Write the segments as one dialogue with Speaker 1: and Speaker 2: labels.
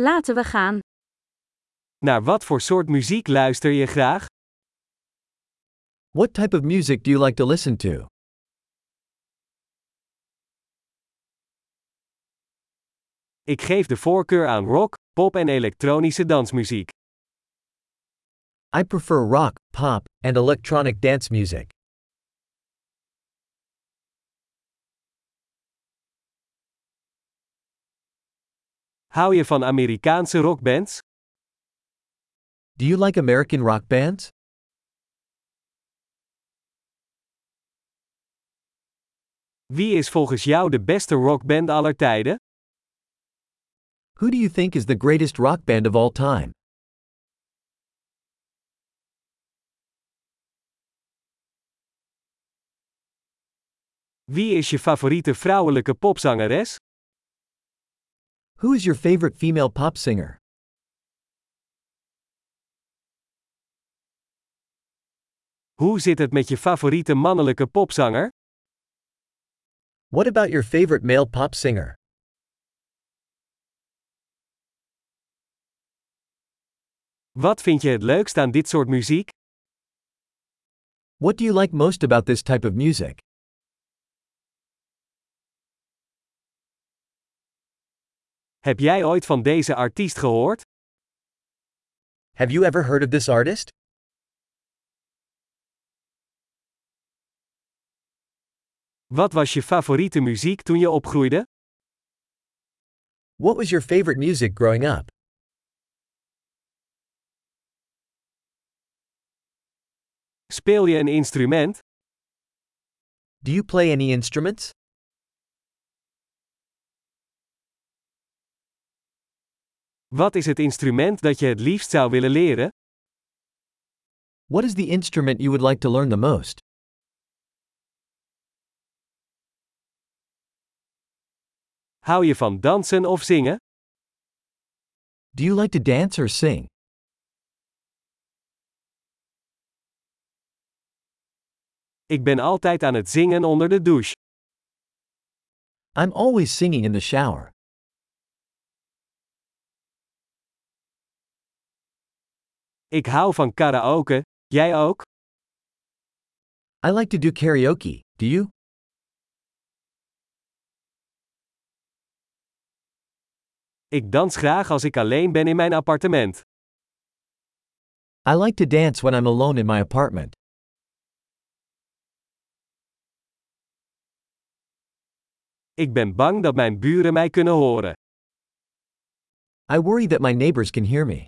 Speaker 1: Laten we gaan.
Speaker 2: Naar wat voor soort muziek luister je graag?
Speaker 3: What type of music do you like to listen to?
Speaker 2: Ik geef de voorkeur aan rock, pop en elektronische dansmuziek.
Speaker 3: I prefer rock, pop, and electronic dance music.
Speaker 2: Hou je van Amerikaanse rockbands?
Speaker 3: Do you like American rock bands?
Speaker 2: Wie is volgens jou de beste rockband aller tijden?
Speaker 3: Who do you think is the greatest rock band of all time?
Speaker 2: Wie is je favoriete vrouwelijke popzangeres?
Speaker 3: Who is your favorite female pop singer?
Speaker 2: Hoe zit het met je favoriete mannelijke popzanger?
Speaker 3: What about your favorite male pop singer?
Speaker 2: Wat vind je het leukst aan dit soort muziek?
Speaker 3: What do you like most about this type of music?
Speaker 2: Heb jij ooit van deze artiest gehoord?
Speaker 3: Have you ever heard of this artist?
Speaker 2: Wat was je favoriete muziek toen je opgroeide?
Speaker 3: What was your favorite music growing up?
Speaker 2: Speel je een instrument?
Speaker 3: Do you play any instruments?
Speaker 2: Wat is het instrument dat je het liefst zou willen leren?
Speaker 3: What is the instrument you would like to learn the most?
Speaker 2: Hou je van dansen of zingen?
Speaker 3: Do you like to dance or sing?
Speaker 2: Ik ben altijd aan het zingen onder de douche.
Speaker 3: I'm always singing in the shower.
Speaker 2: Ik hou van karaoke, jij ook?
Speaker 3: I like to do karaoke, do you?
Speaker 2: Ik dans graag als ik alleen ben in mijn appartement.
Speaker 3: I like to dance when I'm alone in my apartment.
Speaker 2: Ik ben bang dat mijn buren mij kunnen horen.
Speaker 3: I worry that my neighbors can hear me.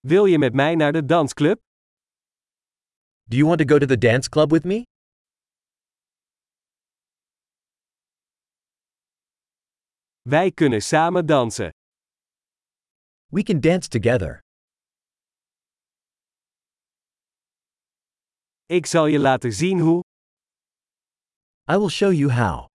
Speaker 2: Wil je met mij naar de dansclub?
Speaker 3: Do you want to go to the dance club with me?
Speaker 2: Wij kunnen samen dansen.
Speaker 3: We can dance together.
Speaker 2: Ik zal je laten zien hoe.
Speaker 3: I will show you how.